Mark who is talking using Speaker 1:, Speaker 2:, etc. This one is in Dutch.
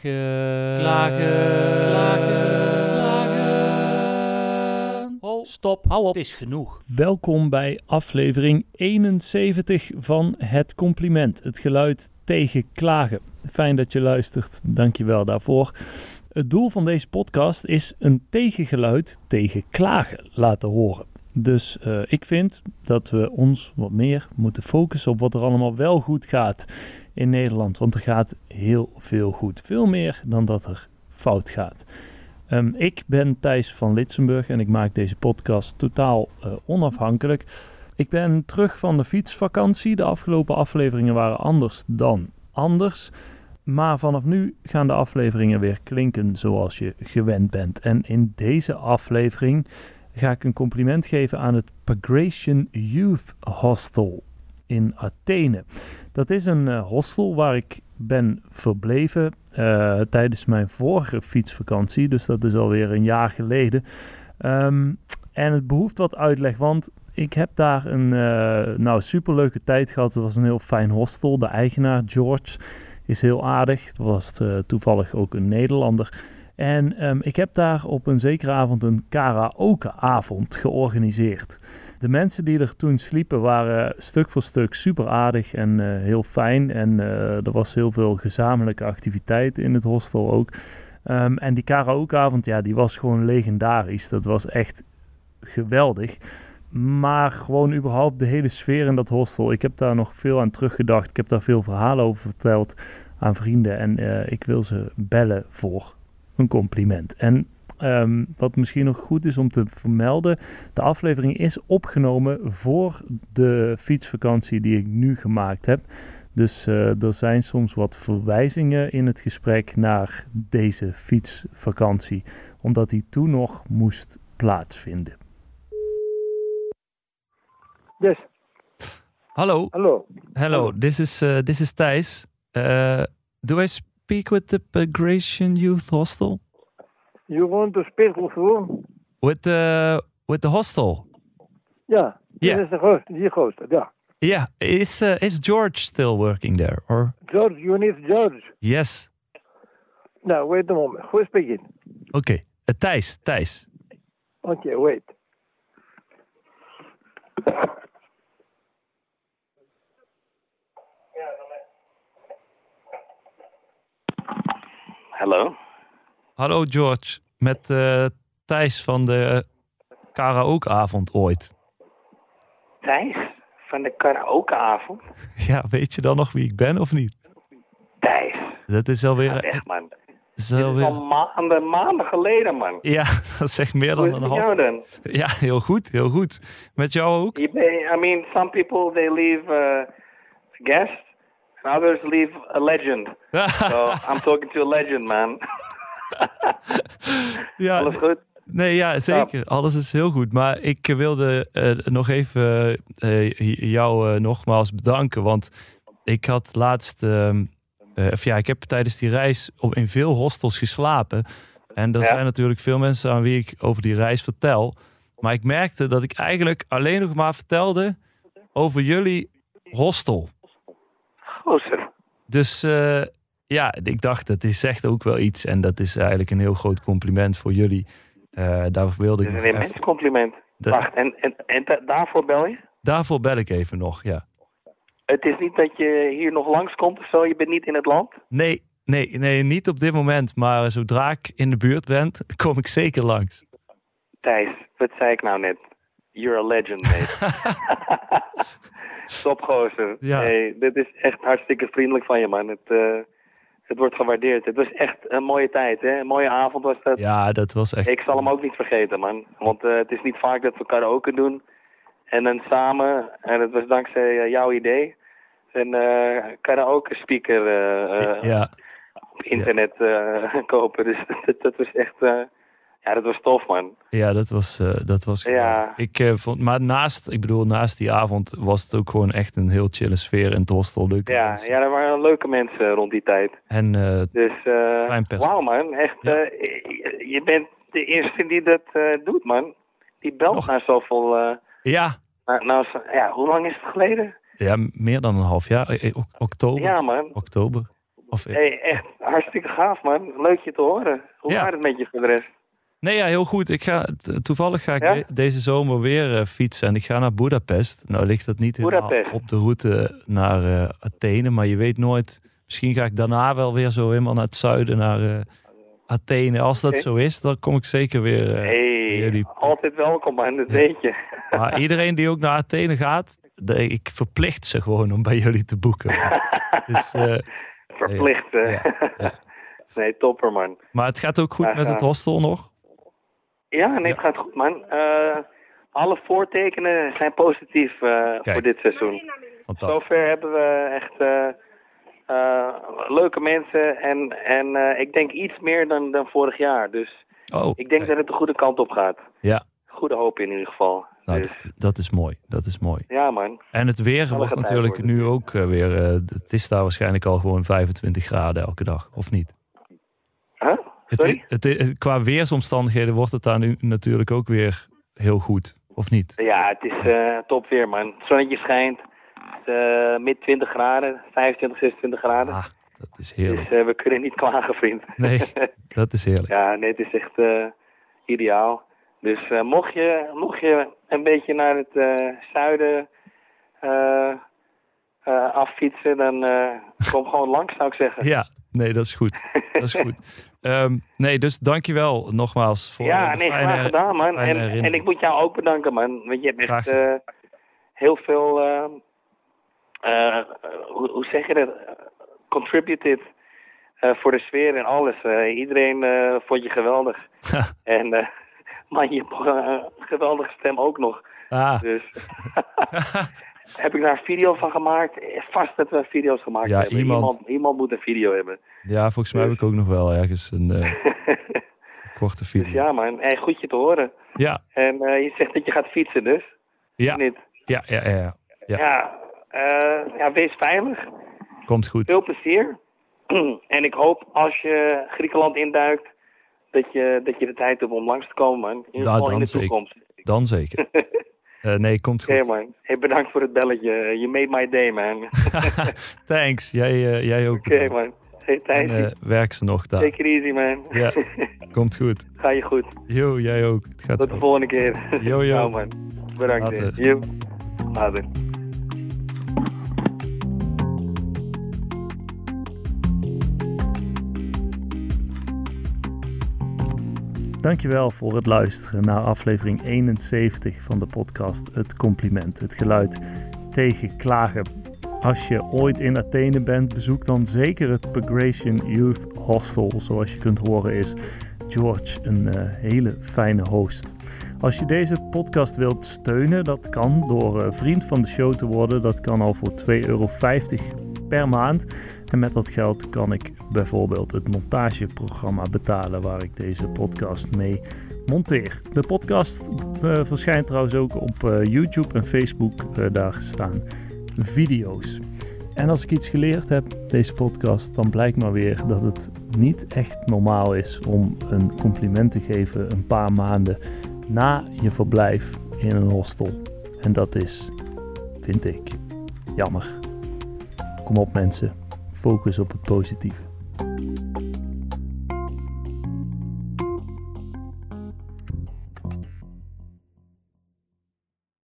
Speaker 1: Klagen.
Speaker 2: Klagen.
Speaker 1: Klagen. Klagen. Ho, stop. Hou op. Het is genoeg.
Speaker 2: Welkom bij aflevering 71 van Het Compliment. Het geluid tegen klagen. Fijn dat je luistert. Dankjewel daarvoor. Het doel van deze podcast is een tegengeluid tegen klagen laten horen. Dus eh, ik vind dat we ons wat meer moeten focussen op wat er allemaal wel goed gaat in Nederland. Want er gaat heel veel goed. Veel meer dan dat er fout gaat. Ehm, ik ben Thijs van Litsenburg en ik maak deze podcast totaal eh, onafhankelijk. Ik ben terug van de fietsvakantie. De afgelopen afleveringen waren anders dan anders. Maar vanaf nu gaan de afleveringen weer klinken zoals je gewend bent. En in deze aflevering ga ik een compliment geven aan het Bagration Youth Hostel in Athene. Dat is een eh, hostel waar ik ben verbleven eh, tijdens mijn vorige fietsvakantie. Dus dat is alweer een jaar geleden. Ehm, en het behoeft wat uitleg, want ik heb daar een eh nou, superleuke tijd gehad. Het was een heel fijn hostel. De eigenaar, George, is heel aardig. Het was eh, toevallig ook een Nederlander. En ehm, ik heb daar op een zekere avond een karaokeavond georganiseerd. De mensen die er toen sliepen waren stuk voor stuk super aardig en eh, heel fijn. En eh, er was heel veel gezamenlijke activiteit in het hostel ook. Ehm, en die karaokeavond, ja, die was gewoon legendarisch. Dat was echt geweldig. Maar gewoon überhaupt de hele sfeer in dat hostel. Ik heb daar nog veel aan teruggedacht. Ik heb daar veel verhalen over verteld aan vrienden. En eh, ik wil ze bellen voor een compliment. En ehm, wat misschien nog goed is om te vermelden. De aflevering is opgenomen voor de fietsvakantie die ik nu gemaakt heb. Dus eh, er zijn soms wat verwijzingen in het gesprek naar deze fietsvakantie, omdat die toen nog moest plaatsvinden.
Speaker 3: Yes,
Speaker 4: Hello,
Speaker 3: hello.
Speaker 4: hello. This is uh, this is Thijs. Uh, do I speak with the Bagration Youth Hostel?
Speaker 3: You want to speak with who?
Speaker 4: With the with the hostel?
Speaker 3: Ja,
Speaker 4: Ja.
Speaker 3: dit is de host, die host, ja.
Speaker 4: Yeah. Is uh, is George still working there? Or
Speaker 3: George, you need George.
Speaker 4: yes?
Speaker 3: Nou, wait a moment. Who is speaking?
Speaker 4: Okay. Uh, Thijs, Thijs.
Speaker 3: Okay, wait.
Speaker 5: Hallo?
Speaker 4: Hallo George, met eh Thijs van de karaokeavond ooit.
Speaker 5: Thijs van de karaokeavond.
Speaker 4: Ja, weet je dan nog wie ik ben of niet?
Speaker 5: Thijs,
Speaker 4: Dat is alweer,
Speaker 5: echt man.
Speaker 4: is
Speaker 5: Dit is al
Speaker 4: alweer
Speaker 5: maanden, maanden geleden man.
Speaker 4: ja, dat zegt meer
Speaker 5: Hoe
Speaker 4: dan
Speaker 5: is het
Speaker 4: een
Speaker 5: met
Speaker 4: half.
Speaker 5: jou dan?
Speaker 4: Ja, heel goed, heel goed. Met jou ook?
Speaker 5: Je bent- I mean, some people they leave uh, guest, and others leave a legend. So I'm talking to a legend man.
Speaker 4: ja,
Speaker 5: Alles goed?
Speaker 4: Nee, ja, zeker. Alles is heel goed. Maar ik eh, wilde eh, nog even eh, eh, jou eh, nogmaals bedanken. Want ik had laatst... ehm, eh, of ja, ik heb tijdens die reis op, in veel hostels geslapen. En er
Speaker 5: Ja.
Speaker 4: zijn natuurlijk veel mensen aan wie ik over die reis vertel. Maar ik merkte dat ik eigenlijk alleen nog maar vertelde over jullie hostel.
Speaker 5: Gozer.
Speaker 4: Dus eh, ja, ik dacht, dat is echt ook wel iets. En dat is eigenlijk een heel groot compliment voor jullie. Eh, daar wilde ik
Speaker 5: Dit is
Speaker 4: nog
Speaker 5: een
Speaker 4: even...
Speaker 5: immens compliment.
Speaker 4: Da-
Speaker 5: Wacht, en, en, en da- daarvoor bel je?
Speaker 4: Daarvoor bel ik even nog, ja.
Speaker 5: Het is niet dat je hier nog langskomt of zo, je bent niet in het land?
Speaker 4: Nee, nee, nee, niet op dit moment. Maar zodra ik in de buurt ben, kom ik zeker langs.
Speaker 5: Thijs, wat zei ik nou net? You're a legend, mate. Top, gozer.
Speaker 4: Ja.
Speaker 5: Hey, dit is echt hartstikke vriendelijk van je, man. Het, eh, het wordt gewaardeerd. Het was echt een mooie tijd, hè? Een mooie avond was dat.
Speaker 4: Ja, dat was echt...
Speaker 5: Ik zal hem ook niet vergeten, man. Want eh, het is niet vaak dat we karaoke doen. En dan samen, en het was dankzij eh, jouw idee, een eh karaoke speaker eh, eh,
Speaker 4: Ja,
Speaker 5: op internet eh, kopen. Dus dat, dat was echt, eh, ja, dat was tof, man.
Speaker 4: ja, dat was... eh, dat was
Speaker 5: Ja.
Speaker 4: ik, eh, vond, maar naast, ik bedoel, naast die avond was het ook gewoon echt een heel chille sfeer in het hostel. Leuke
Speaker 5: Ja,
Speaker 4: mensen.
Speaker 5: ja, er waren leuke mensen rond die tijd.
Speaker 4: En eh,
Speaker 5: Dus eh,
Speaker 4: Klein pers-
Speaker 5: wauw man, echt,
Speaker 4: Ja.
Speaker 5: eh, je- je bent de eerste die dat eh, doet man. Die belt
Speaker 4: Nog-
Speaker 5: naar zoveel, eh,
Speaker 4: ja,
Speaker 5: naar, naar zo- ja, hoe lang is het geleden?
Speaker 4: ja, meer dan een half jaar. Eh, eh, ok- Oktober.
Speaker 5: Ja man,
Speaker 4: Oktober. Of,
Speaker 5: Hey, echt hartstikke gaaf, man. Leuk je te horen. Hoe
Speaker 4: Ja.
Speaker 5: gaat het met je voor de rest?
Speaker 4: Nee, ja, heel goed. Ik ga, t- toevallig ga ik
Speaker 5: Ja?
Speaker 4: de- deze zomer weer eh, fietsen en ik ga naar Budapest. Nou ligt dat niet helemaal
Speaker 5: Boedapest.
Speaker 4: op de route naar eh, Athene, maar je weet nooit. Misschien ga ik daarna wel weer zo helemaal naar het zuiden, naar eh, Athene. Als dat
Speaker 5: Oké.
Speaker 4: zo is, dan kom ik zeker weer. eh,
Speaker 5: Hey,
Speaker 4: jullie-
Speaker 5: altijd welkom, man. Dat
Speaker 4: Ja.
Speaker 5: weet je.
Speaker 4: Maar iedereen die ook naar Athene gaat, de- ik verplicht ze gewoon om bij jullie te boeken. Dus, eh,
Speaker 5: Verplicht. eh.
Speaker 4: Ja, ja.
Speaker 5: nee, topper, man.
Speaker 4: maar het gaat ook goed
Speaker 5: Maar,
Speaker 4: met het
Speaker 5: eh,
Speaker 4: hostel nog.
Speaker 5: Ja, nee, het gaat goed, man. Eh, alle voortekenen zijn positief eh, voor dit seizoen.
Speaker 4: Fantastisch.
Speaker 5: Zover hebben we echt eh, eh, leuke mensen en, en eh, ik denk iets meer dan, dan vorig jaar. Dus
Speaker 4: Oh,
Speaker 5: ik denk
Speaker 4: eh,
Speaker 5: dat het de goede kant op gaat.
Speaker 4: Ja.
Speaker 5: Goede hoop in ieder geval.
Speaker 4: nou,
Speaker 5: dus,
Speaker 4: dat, dat is mooi. Dat is mooi.
Speaker 5: ja, man.
Speaker 4: En het weer wordt
Speaker 5: gaat
Speaker 4: natuurlijk
Speaker 5: worden.
Speaker 4: nu ook eh, weer. eh, het is daar waarschijnlijk al gewoon 25 graden elke dag, of niet?
Speaker 5: Huh?
Speaker 4: Het,
Speaker 5: Sorry?
Speaker 4: het, het- qua weersomstandigheden wordt het daar nu natuurlijk ook weer heel goed, of niet?
Speaker 5: Ja, het is eh top weer, man. Het zonnetje schijnt. Het is, eh, mid 20 graden, 25, 26 graden.
Speaker 4: Ah, dat is
Speaker 5: dus
Speaker 4: heerlijk.
Speaker 5: eh, we kunnen niet klagen, vriend.
Speaker 4: Nee, dat is heerlijk.
Speaker 5: Ja, nee, het is echt eh, ideaal. Dus eh, mocht, je, mocht je een beetje naar het eh, zuiden eh, eh, affietsen, dan eh, kom gewoon langs, zou ik zeggen.
Speaker 4: Ja, nee, dat is goed. Dat is goed. Ehm, nee, dus dankjewel nogmaals voor
Speaker 5: Ja,
Speaker 4: de
Speaker 5: nee,
Speaker 4: fijne-
Speaker 5: graag gedaan, man.
Speaker 4: fijne
Speaker 5: En,
Speaker 4: herinnering.
Speaker 5: en ik moet jou ook bedanken, man. Want je hebt
Speaker 4: Graag
Speaker 5: echt
Speaker 4: gedaan.
Speaker 5: eh, heel veel, eh, eh, hoe, hoe zeg je dat, contributed eh, voor de sfeer en alles. Eh, iedereen eh, vond je geweldig. en, eh, maar je hebt eh, een geweldige stem ook nog.
Speaker 4: Ah,
Speaker 5: Dus heb ik daar een video van gemaakt? Eh, Vast dat we video's gemaakt
Speaker 4: Ja,
Speaker 5: hebben.
Speaker 4: iemand-
Speaker 5: iemand, iemand moet een video hebben.
Speaker 4: ja, volgens mij heb ik ook nog wel ergens een eh, korte
Speaker 5: dus
Speaker 4: video.
Speaker 5: ja, man. Hey, goed je te horen.
Speaker 4: ja,
Speaker 5: En eh, je zegt dat je gaat fietsen, dus?
Speaker 4: ja,
Speaker 5: Of Niet?
Speaker 4: ja, ja, ja, ja.
Speaker 5: Ja. eh, ja, wees veilig.
Speaker 4: Komt goed.
Speaker 5: Veel plezier. en ik hoop als je Griekenland induikt, dat je, dat je de tijd hebt om langs te komen, man. In
Speaker 4: Ja,
Speaker 5: ieder geval in
Speaker 4: dan
Speaker 5: de
Speaker 4: zeker.
Speaker 5: toekomst. Oké,
Speaker 4: Dan zeker. Eh, nee, komt goed.
Speaker 5: man. Hey, bedankt voor het belletje. You made my day, man. Oké,
Speaker 4: Thanks. Jij, eh, jij ook. bedankt.
Speaker 5: man. Hey,
Speaker 4: En,
Speaker 5: Thijs.
Speaker 4: eh, werk ze nog daar.
Speaker 5: take it easy, man.
Speaker 4: Ja. Komt goed.
Speaker 5: Ga je goed.
Speaker 4: Jo, jij ook. Het gaat
Speaker 5: Tot de
Speaker 4: goed.
Speaker 5: volgende keer.
Speaker 4: Yo, yo.
Speaker 5: Nou, man. Bedankt. hè.
Speaker 4: Later.
Speaker 5: Yo. Later.
Speaker 2: Dankjewel voor het luisteren naar aflevering 71 van de podcast Het Compliment. Het geluid tegen klagen. Als je ooit in Athene bent, bezoek dan zeker het Bagration Youth Hostel. Zoals je kunt horen is George een eh, hele fijne host. Als je deze podcast wilt steunen, dat kan door eh, vriend van de show te worden. Dat kan al voor 2,50 euro per maand. En met dat geld kan ik bijvoorbeeld het montageprogramma betalen waar ik deze podcast mee monteer. De podcast eh, verschijnt trouwens ook op eh, YouTube en Facebook. Eh, daar staan video's. En als ik iets geleerd heb, deze podcast, dan blijkt maar weer dat het niet echt normaal is om een compliment te geven een paar maanden na je verblijf in een hostel. En dat is, vind ik, jammer. Kom op mensen focus op het positieve.